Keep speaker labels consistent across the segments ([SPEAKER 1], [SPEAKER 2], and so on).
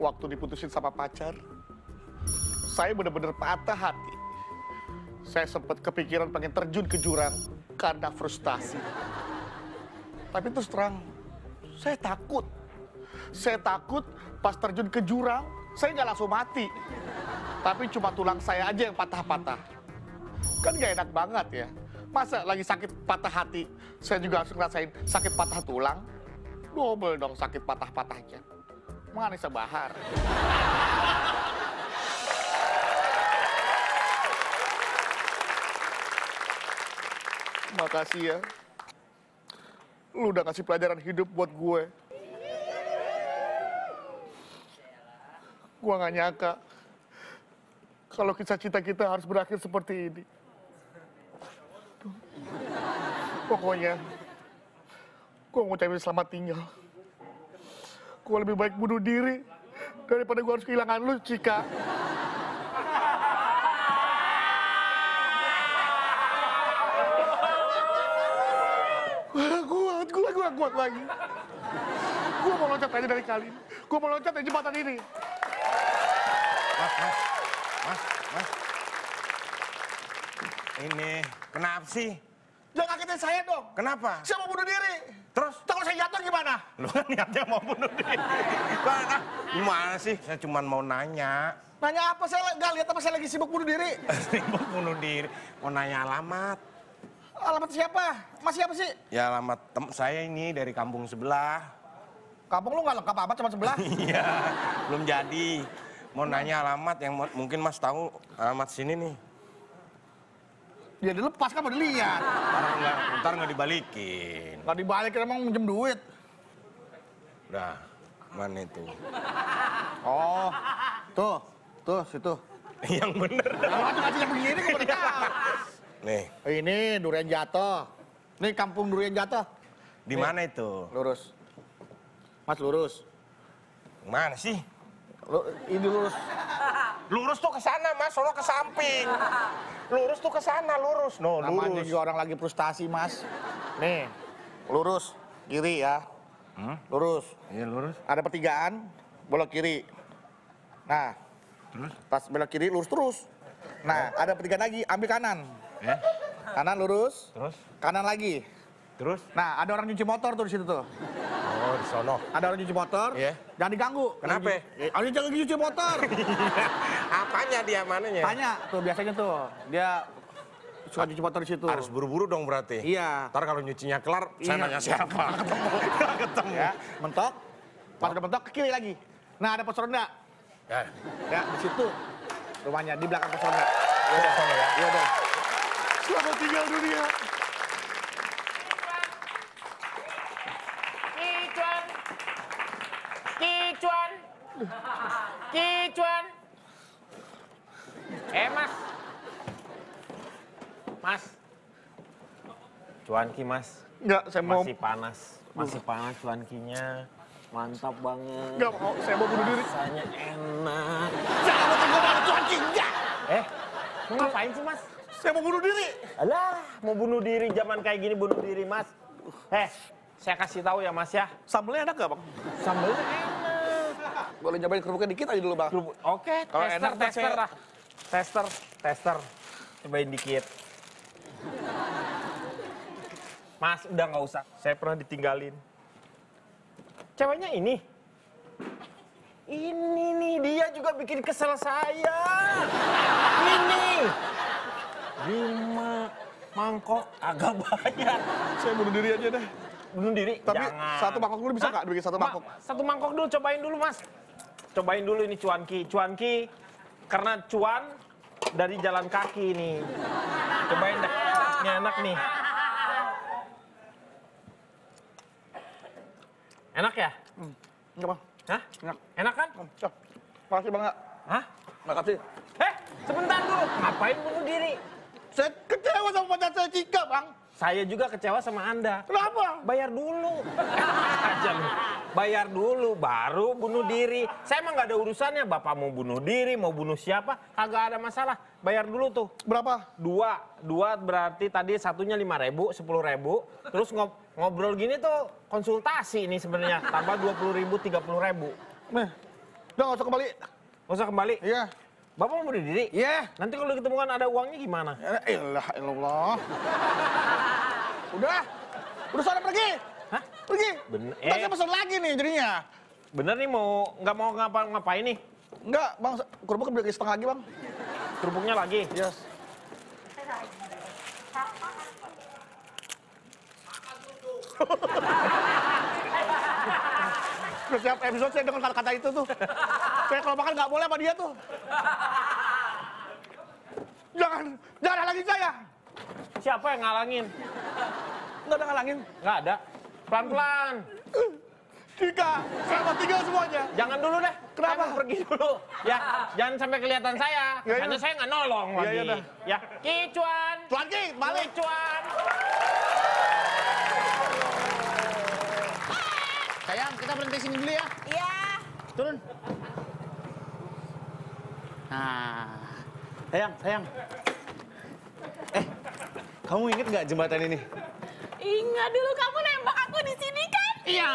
[SPEAKER 1] waktu diputusin sama pacar, saya bener-bener patah hati. Saya sempat kepikiran pengen terjun ke jurang karena frustasi. Tapi terus terang, saya takut. Saya takut pas terjun ke jurang, saya nggak langsung mati. Tapi cuma tulang saya aja yang patah-patah. Kan nggak enak banget ya. Masa lagi sakit patah hati, saya juga harus ngerasain sakit patah tulang? Double dong sakit patah-patahnya. Mana sebahar. Makasih ya. Lu udah kasih pelajaran hidup buat gue. Gue gak nyangka kalau kisah cinta kita harus berakhir seperti ini. Duh. Pokoknya, gue ngucapin selamat tinggal. Gue lebih baik bunuh diri daripada gue harus kehilangan lu, Cika. kuat, gue kuat, kuat lagi. Gue mau loncat aja dari kali. Gue mau loncat dari jembatan ini.
[SPEAKER 2] Mas, mas, mas, mas. Ini, kenapa sih?
[SPEAKER 1] Jangan kagetin saya dong.
[SPEAKER 2] Kenapa?
[SPEAKER 1] Saya mau bunuh diri.
[SPEAKER 2] Terus?
[SPEAKER 1] Ntar kalau saya jatuh gimana?
[SPEAKER 2] Lu kan niatnya mau bunuh diri. Kan, ah, gimana sih? Saya cuma mau nanya.
[SPEAKER 1] Nanya apa? Saya nggak lihat apa saya lagi sibuk bunuh diri.
[SPEAKER 2] Sibuk bunuh diri. Mau nanya alamat.
[SPEAKER 1] Alamat siapa? Mas siapa sih?
[SPEAKER 2] Ya alamat tem saya ini dari kampung sebelah.
[SPEAKER 1] Kampung lu nggak lengkap amat cuma sebelah.
[SPEAKER 2] Iya, belum jadi. Mau nanya alamat yang mo- mungkin mas tahu alamat sini nih.
[SPEAKER 1] ya dilepas kan mau dilihat.
[SPEAKER 2] Ntar nggak, ntar nggak dibalikin.
[SPEAKER 1] Nggak dibalik emang minjem duit.
[SPEAKER 2] Udah, mana itu?
[SPEAKER 1] Oh, tuh, tuh situ.
[SPEAKER 2] yang bener.
[SPEAKER 1] Kalau tuh ngasih yang begini gue baru tahu.
[SPEAKER 2] Nih,
[SPEAKER 1] Ini durian jatuh. Ini kampung durian jatuh.
[SPEAKER 2] di mana itu?
[SPEAKER 1] Lurus. Mas lurus.
[SPEAKER 2] Mana sih?
[SPEAKER 1] Lu, ini lurus.
[SPEAKER 2] Lurus tuh ke sana, Mas. Sono ke samping. Lurus tuh ke sana, lurus. No,
[SPEAKER 1] Namanya
[SPEAKER 2] lurus.
[SPEAKER 1] juga orang lagi frustasi, Mas. Nih, lurus kiri ya. Lurus.
[SPEAKER 2] Iya, lurus.
[SPEAKER 1] Ada pertigaan, belok kiri. Nah,
[SPEAKER 2] Terus?
[SPEAKER 1] pas belok kiri lurus terus. Nah, ada pertigaan lagi, ambil kanan.
[SPEAKER 2] Ya.
[SPEAKER 1] Kanan lurus,
[SPEAKER 2] Terus?
[SPEAKER 1] kanan lagi.
[SPEAKER 2] Terus?
[SPEAKER 1] Nah, ada orang cuci motor tuh di situ tuh.
[SPEAKER 2] Oh, di sono.
[SPEAKER 1] Ada orang cuci motor,
[SPEAKER 2] Iya.
[SPEAKER 1] jangan diganggu.
[SPEAKER 2] Kenapa?
[SPEAKER 1] Ayo jangan lagi cuci motor.
[SPEAKER 2] Apanya dia mananya?
[SPEAKER 1] Tanya tuh biasanya tuh, dia suka cuci motor di situ.
[SPEAKER 2] Harus buru-buru dong berarti.
[SPEAKER 1] Iya.
[SPEAKER 2] Ntar kalau nyucinya kelar, saya
[SPEAKER 1] Iya.
[SPEAKER 2] nanya siapa. Ketemu. Ketemu.
[SPEAKER 1] ya mentok pas udah mentok ke kiri lagi nah ada pos ronda
[SPEAKER 2] Ya.
[SPEAKER 1] ya di situ rumahnya di belakang pos ronda
[SPEAKER 2] Udah, sono ya.
[SPEAKER 1] iya dong selamat tinggal dunia
[SPEAKER 3] Kicuan. Kicuan. Kicuan. Eh, Mas. Mas. Cuanki, Mas.
[SPEAKER 1] nggak saya mau
[SPEAKER 3] Masih panas. Masih panas cuankinya. Mantap banget.
[SPEAKER 1] nggak mau saya mau bunuh diri
[SPEAKER 3] Rasanya enak.
[SPEAKER 1] jangan mau tenggelam Tuhan Ki. Nggak.
[SPEAKER 3] Eh, lu ngapain sih, Mas?
[SPEAKER 1] saya mau bunuh diri
[SPEAKER 3] Alah, mau bunuh diri zaman kayak gini bunuh diri, Mas. Eh, saya kasih tahu ya, Mas ya.
[SPEAKER 1] sambelnya enak nggak bang
[SPEAKER 3] Sambelnya enak.
[SPEAKER 1] boleh nyobain kerupuknya dikit aja dulu bang
[SPEAKER 3] Kerupuk. Oke,
[SPEAKER 1] Kalau
[SPEAKER 3] tester,
[SPEAKER 1] enak,
[SPEAKER 3] tester
[SPEAKER 1] saya-
[SPEAKER 3] lah. Tester, tester. Cobain dikit. Mas, udah nggak usah. Saya pernah ditinggalin. Ceweknya ini. Ini nih, dia juga bikin kesel saya. Ini nih. Lima mangkok agak banyak.
[SPEAKER 1] saya bunuh diri aja deh
[SPEAKER 3] Bunuh diri,
[SPEAKER 1] tapi
[SPEAKER 3] jangan.
[SPEAKER 1] satu mangkok dulu bisa
[SPEAKER 3] Hah?
[SPEAKER 1] nggak bikin satu
[SPEAKER 3] Ma-
[SPEAKER 1] mangkok
[SPEAKER 3] satu mangkok dulu, cobain dulu mas. Cobain dulu ini cuanki. Cuanki, karena cuan dari jalan kaki ini. Cobain dah, ini enak nih. Enak ya?
[SPEAKER 1] nggak bang
[SPEAKER 3] Hah?
[SPEAKER 1] enak
[SPEAKER 3] Enak kan?
[SPEAKER 1] Cok. makasih bang nggak
[SPEAKER 3] Hah?
[SPEAKER 1] makasih
[SPEAKER 3] Eh, sebentar dulu. Ngapain bunuh diri?
[SPEAKER 1] saya kecewa sama pacar saya Cika bang
[SPEAKER 3] Saya juga kecewa sama Anda.
[SPEAKER 1] kenapa
[SPEAKER 3] Bayar dulu. Aja lu. Bayar dulu, baru bunuh diri. Saya emang nggak ada urusannya. Bapak mau bunuh diri, mau bunuh siapa, kagak ada masalah. Bayar dulu tuh.
[SPEAKER 1] berapa
[SPEAKER 3] Dua, dua berarti tadi satunya lima ribu, sepuluh ribu. Terus ngob- ngobrol gini tuh konsultasi ini sebenarnya. Tambah dua puluh ribu, tiga puluh ribu.
[SPEAKER 1] nih Udah nggak usah kembali.
[SPEAKER 3] Nggak usah kembali.
[SPEAKER 1] Iya.
[SPEAKER 3] Bapak mau bunuh diri?
[SPEAKER 1] Iya.
[SPEAKER 3] Nanti kalau ditemukan ada uangnya gimana?
[SPEAKER 1] Eh, Elah, elah. Udah. Udah sana pergi.
[SPEAKER 3] Hah?
[SPEAKER 1] Pergi.
[SPEAKER 3] Bener-
[SPEAKER 1] Ntar
[SPEAKER 3] eh.
[SPEAKER 1] saya pesan lagi nih jadinya.
[SPEAKER 3] Bener nih mau nggak mau ngapa-ngapain nih?
[SPEAKER 1] Enggak, Bang. Kerupuk beli lagi setengah lagi, Bang.
[SPEAKER 3] Kerupuknya lagi.
[SPEAKER 1] Yes. Setiap episode saya dengan kata-kata itu tuh. Saya kalau makan nggak boleh sama dia tuh. Jangan, jangan halangin saya.
[SPEAKER 3] Siapa yang ngalangin?
[SPEAKER 1] Nggak ada halangin.
[SPEAKER 3] Nggak ada. Pelan-pelan.
[SPEAKER 1] Tiga, sama tiga semuanya.
[SPEAKER 3] Jangan dulu deh.
[SPEAKER 1] Kenapa?
[SPEAKER 3] Saya mau pergi dulu. Ya, jangan sampai kelihatan saya.
[SPEAKER 1] Ya, ya.
[SPEAKER 3] Karena saya nggak nolong
[SPEAKER 1] Ya,
[SPEAKER 3] lagi.
[SPEAKER 1] ya, dah.
[SPEAKER 3] Ya, kicuan.
[SPEAKER 1] Tuan Ki, balik.
[SPEAKER 3] Kicuan.
[SPEAKER 4] Sayang, kita berhenti sini dulu ya.
[SPEAKER 5] Iya.
[SPEAKER 4] Turun. Nah, sayang, sayang. Eh, kamu inget nggak jembatan ini?
[SPEAKER 5] Ingat dulu kamu nembak aku di sini kan?
[SPEAKER 4] Iya.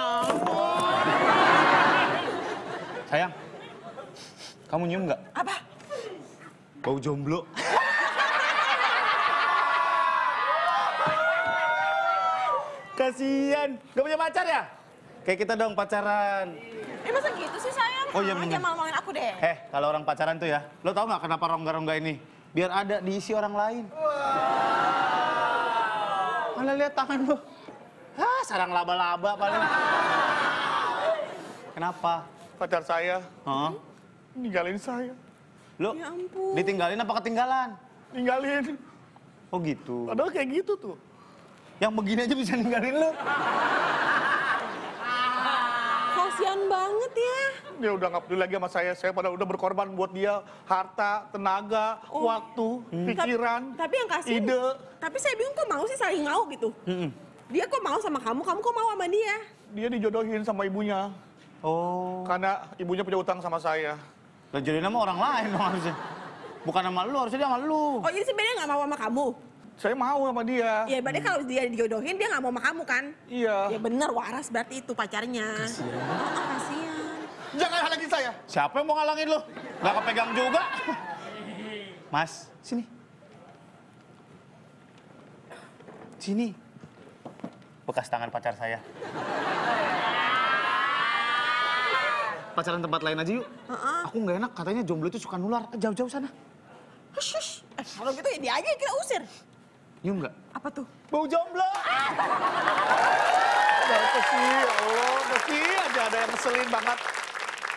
[SPEAKER 4] Sayang, kamu nyium nggak?
[SPEAKER 5] Apa?
[SPEAKER 4] Bau jomblo. Kasian, nggak punya pacar ya? Kayak kita dong pacaran.
[SPEAKER 5] Eh masa gitu sih sayang?
[SPEAKER 4] Oh, iya,
[SPEAKER 5] Ah,
[SPEAKER 4] bener.
[SPEAKER 5] Jangan malu-maluin aku deh.
[SPEAKER 4] Eh, kalau orang pacaran tuh ya, lo tau nggak kenapa rongga-rongga ini? Biar ada diisi orang lain. Malah lihat tangan lo. Hah, sarang laba-laba paling. Kenapa?
[SPEAKER 1] Pacar saya
[SPEAKER 4] Hah?
[SPEAKER 1] ninggalin saya.
[SPEAKER 4] Lo
[SPEAKER 5] Ya ampun.
[SPEAKER 4] ditinggalin apa ketinggalan?
[SPEAKER 1] Ninggalin.
[SPEAKER 4] Oh gitu.
[SPEAKER 1] Padahal kayak gitu tuh.
[SPEAKER 4] Yang begini aja bisa ninggalin lo.
[SPEAKER 5] Kasian banget ya.
[SPEAKER 1] Dia udah nggak peduli lagi sama saya. Saya pada udah berkorban buat dia harta, tenaga,
[SPEAKER 5] Oh.
[SPEAKER 1] waktu,
[SPEAKER 5] Ta-
[SPEAKER 1] pikiran,
[SPEAKER 5] Tapi yang kasihan.
[SPEAKER 1] ide.
[SPEAKER 5] Tapi saya bingung kok mau sih saling mau gitu.
[SPEAKER 4] Mm-mm.
[SPEAKER 5] Dia kok mau sama kamu, kamu kok mau sama dia?
[SPEAKER 1] Dia dijodohin sama ibunya
[SPEAKER 4] Oh.
[SPEAKER 1] karena ibunya punya utang sama saya.
[SPEAKER 4] Lo jadi nama orang lain dong harusnya. Bukan sama lo, harusnya dia sama lo.
[SPEAKER 5] Oh jadi sebenarnya nggak mau sama kamu?
[SPEAKER 1] Saya mau sama dia.
[SPEAKER 5] Ya berarti kalau dia dijodohin dia nggak mau sama kamu kan?
[SPEAKER 1] Iya.
[SPEAKER 5] Ya bener waras berarti itu pacarnya. Kasian. Oh, kasihan.
[SPEAKER 1] Jangan halangi saya.
[SPEAKER 4] Siapa yang mau ngalangin lo? Gak kepegang juga. Mas, sini. Sini. Bekas tangan pacar saya. Pacaran tempat lain aja yuk.
[SPEAKER 5] Heeh.
[SPEAKER 4] Aku nggak enak, katanya jomblo itu suka nular. Eh, Jauh-jauh sana.
[SPEAKER 5] Shush. Eh, kalau gitu ya dia aja yang kita usir.
[SPEAKER 4] Nyium nggak?
[SPEAKER 5] Apa tuh?
[SPEAKER 4] Bau jomblo!
[SPEAKER 1] Kenapa sih? Ya Allah, mesti aja ada yang ngeselin banget.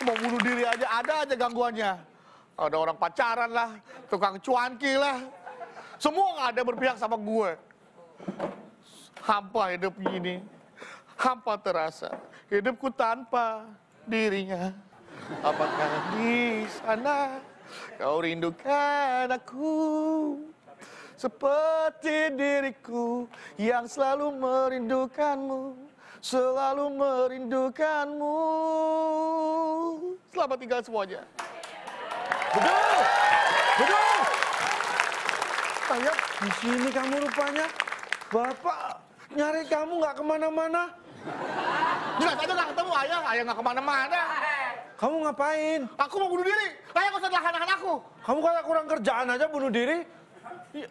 [SPEAKER 1] Mau bunuh diri aja, ada aja gangguannya. Ada orang pacaran lah, tukang cuanki lah. Semua nggak ada yang berpihak sama gue. Hampa hidup ini. Hampa terasa. Hidupku tanpa dirinya. Apakah di sana kau rindukan aku? Seperti diriku yang selalu merindukanmu, selalu merindukanmu. Selamat tinggal semuanya.
[SPEAKER 6] Betul. Betul.
[SPEAKER 1] Saya
[SPEAKER 6] Di sini kamu rupanya. Bapak nyari kamu nggak kemana-mana.
[SPEAKER 1] jelas aja nggak ketemu ayah, ayah nggak kemana-mana.
[SPEAKER 6] Kamu ngapain?
[SPEAKER 1] Aku mau bunuh diri, ayah nggak usah nahan-nahan aku.
[SPEAKER 6] Kamu kayak kurang kerjaan aja bunuh diri.
[SPEAKER 1] Ya,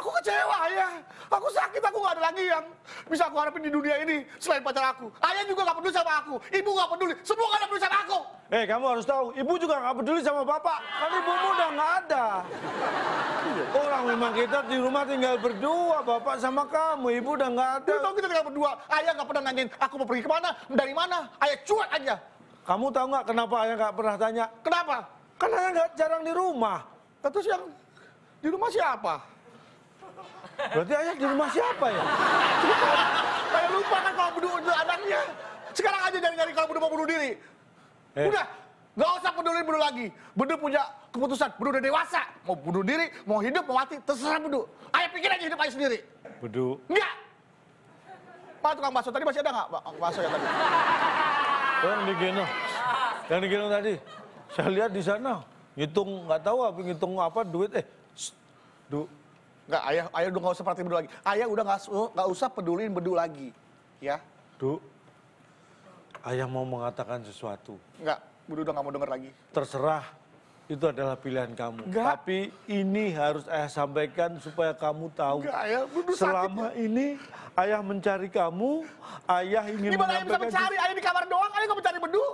[SPEAKER 1] Aku kecewa ayah, aku sakit, aku nggak ada lagi yang bisa aku harapin di dunia ini selain pacar aku. Ayah juga nggak peduli sama aku, ibu nggak peduli, semua nggak ada peduli sama aku.
[SPEAKER 6] Eh, kamu harus tahu, ibu juga nggak peduli sama bapak. Kan ibumu udah nggak ada. Orang memang kita di rumah tinggal berdua, bapak sama kamu, ibu udah nggak ada.
[SPEAKER 1] Lu tau kita tinggal berdua, ayah nggak pernah nanyain aku mau pergi kemana, dari mana, ayah cuek aja.
[SPEAKER 6] Kamu tahu nggak kenapa ayah nggak pernah tanya?
[SPEAKER 1] Kenapa?
[SPEAKER 6] Kan ayah nggak jarang di rumah.
[SPEAKER 1] Nah, Terus yang di rumah siapa?
[SPEAKER 6] Berarti ayah di rumah siapa ya?
[SPEAKER 1] Saya lupa kan kalau bunuh bunuh anaknya. Sekarang aja nyari-nyari kalau bunuh mau bunuh diri.
[SPEAKER 6] Eh.
[SPEAKER 1] Udah, nggak usah peduli bunuh lagi. Bunuh punya keputusan, bunuh udah dewasa. Mau bunuh diri, mau hidup, mau mati, terserah bunuh. Ayah pikir aja hidup ayah sendiri.
[SPEAKER 6] Bedu.
[SPEAKER 1] Enggak. Pak tukang bakso tadi masih ada nggak Pak, bakso yang tadi?
[SPEAKER 6] Yang di Geno. Yang di Geno tadi. Saya lihat di sana. Ngitung, nggak tahu apa, ngitung apa, duit. Eh, sst, du,
[SPEAKER 1] Enggak, ayah, ayah udah nggak usah perhatiin bunuh lagi. Ayah udah nggak su- nggak usah peduliin bunuh lagi, ya?
[SPEAKER 6] du. Ayah mau mengatakan sesuatu.
[SPEAKER 1] Enggak. Budi udah nggak mau denger lagi.
[SPEAKER 6] terserah itu adalah pilihan kamu.
[SPEAKER 1] Enggak.
[SPEAKER 6] Tapi ini harus ayah sampaikan supaya kamu tahu.
[SPEAKER 1] Enggak, ayah. Budi sakit.
[SPEAKER 6] Selama ini ayah mencari kamu, ayah ingin
[SPEAKER 1] Di mana ayah bisa
[SPEAKER 6] menyampaikan-
[SPEAKER 1] mencari? Ayah di kamar doang, ayah nggak mencari bedu.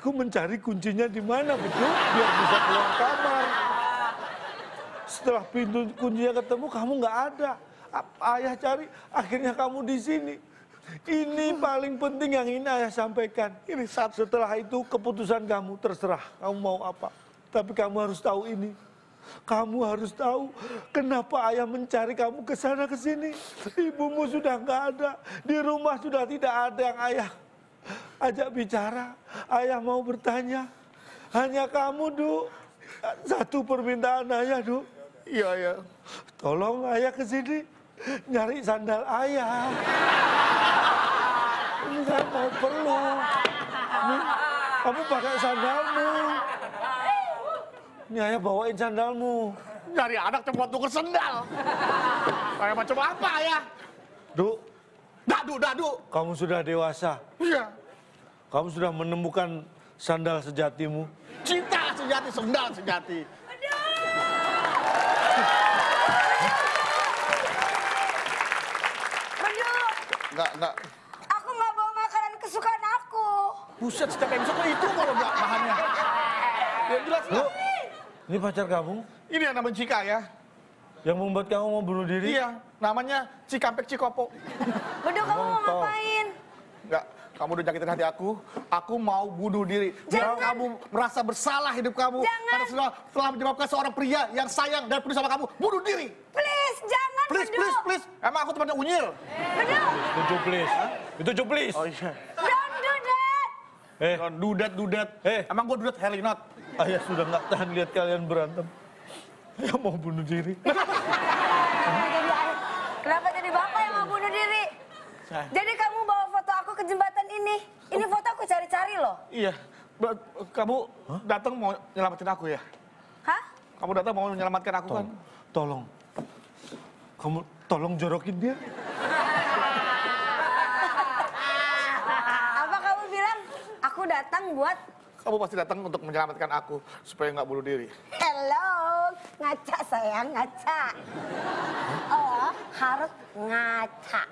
[SPEAKER 6] Aku mencari kuncinya di mana betul biar bisa keluar kamar. Setelah pintu kuncinya ketemu kamu nggak ada. A- Ayah cari, akhirnya kamu di sini. Ini paling penting yang ini ayah sampaikan. Ini saat setelah itu keputusan kamu terserah kamu mau apa. Tapi kamu harus tahu ini. Kamu harus tahu kenapa ayah mencari kamu ke sana ke sini. Ibumu sudah nggak ada, di rumah sudah tidak ada yang ayah ajak bicara, ayah mau bertanya. Hanya kamu, Du. Satu permintaan ayah, Du.
[SPEAKER 1] Iya, iya.
[SPEAKER 6] Tolong ayah ke sini nyari sandal ayah. Ini saya mau perlu. Nih, kamu pakai sandalmu. Ini ayah bawain sandalmu.
[SPEAKER 1] Nyari anak cuma tuker sendal. Ayah macam apa, ayah?
[SPEAKER 6] Du,
[SPEAKER 1] Dadu, dadu.
[SPEAKER 6] kamu sudah dewasa.
[SPEAKER 1] Iya.
[SPEAKER 6] Kamu sudah menemukan sandal sejatimu.
[SPEAKER 1] Cinta sejati, sendal sejati.
[SPEAKER 7] Bedu,
[SPEAKER 1] Enggak, enggak.
[SPEAKER 7] aku nggak bawa makanan kesukaan aku.
[SPEAKER 1] Buset, setiap episode itu kalau enggak bahannya. Ya jelas,
[SPEAKER 6] Du,
[SPEAKER 1] enggak.
[SPEAKER 6] ini pacar kamu
[SPEAKER 1] Ini yang namanya Cika, ya.
[SPEAKER 6] yang membuat kamu mau bunuh diri?
[SPEAKER 1] Iya, namanya Cikampek Cikopo.
[SPEAKER 7] Bedu, kamu
[SPEAKER 6] Ngomong
[SPEAKER 7] mau
[SPEAKER 6] tau.
[SPEAKER 7] ngapain?
[SPEAKER 1] Enggak, kamu udah nyakitin hati aku. Aku mau bunuh diri. Biar
[SPEAKER 7] Jangan.
[SPEAKER 1] kamu merasa bersalah hidup kamu.
[SPEAKER 7] Jangan.
[SPEAKER 1] Karena sudah telah menyebabkan seorang pria yang sayang dan peduli sama kamu. Bunuh diri.
[SPEAKER 7] Please, jangan
[SPEAKER 1] Please,
[SPEAKER 7] Bedu.
[SPEAKER 1] please, please. Emang aku temannya unyil?
[SPEAKER 7] Bedu,
[SPEAKER 6] Itu please. Itu please.
[SPEAKER 1] Oh iya.
[SPEAKER 7] don't do that.
[SPEAKER 6] Eh,
[SPEAKER 1] Dudet, dudet.
[SPEAKER 6] Eh.
[SPEAKER 1] Emang gua dudet Helinot.
[SPEAKER 6] ayah sudah nggak tahan lihat kalian berantem. Ayah mau bunuh diri.
[SPEAKER 7] Kenapa jadi ayah- Kenapa jadi bapak yang mau bunuh diri? Jadi kamu bawa foto aku ke jembatan ini. Ini foto aku cari-cari loh.
[SPEAKER 1] Iya. Ber- Kamu datang mau nyelamatin aku ya?
[SPEAKER 7] Hah?
[SPEAKER 1] Kamu datang mau menyelamatkan aku kan?
[SPEAKER 6] Tolong, tolong. Kamu tolong jorokin dia.
[SPEAKER 7] Apa kamu bilang aku datang buat
[SPEAKER 1] Kamu pasti datang untuk menyelamatkan aku supaya nggak bunuh diri.
[SPEAKER 7] hello ngaca sayang ngaca. Oh harus ngaca,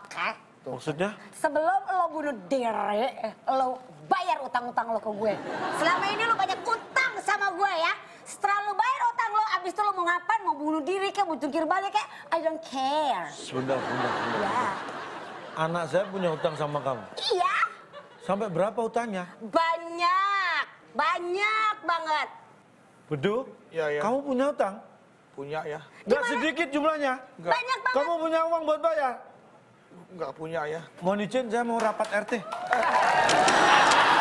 [SPEAKER 7] oke?
[SPEAKER 6] Maksudnya?
[SPEAKER 7] Sebelum lo bunuh diri, lo bayar utang-utang lo ke gue. Selama ini lo banyak utang sama gue ya. Setelah lo bayar utang lo, abis itu lo mau ngapain? Mau bunuh diri kayak, mau jungkir balik kayak, I don't care.
[SPEAKER 6] Sebentar, sebentar, sebentar.
[SPEAKER 7] Ya.
[SPEAKER 6] Anak saya punya utang sama kamu.
[SPEAKER 7] Iya,
[SPEAKER 6] Sampai berapa utangnya?
[SPEAKER 7] banyak. Banyak banget.
[SPEAKER 6] Bedu?
[SPEAKER 1] Iya, iya.
[SPEAKER 6] Kamu punya utang?
[SPEAKER 1] Punya ya?
[SPEAKER 6] Nggak sedikit jumlahnya.
[SPEAKER 7] Banyak banget.
[SPEAKER 6] Kamu punya uang buat bayar?
[SPEAKER 1] Nggak punya ya?
[SPEAKER 6] Mohon izin, saya mau rapat RT.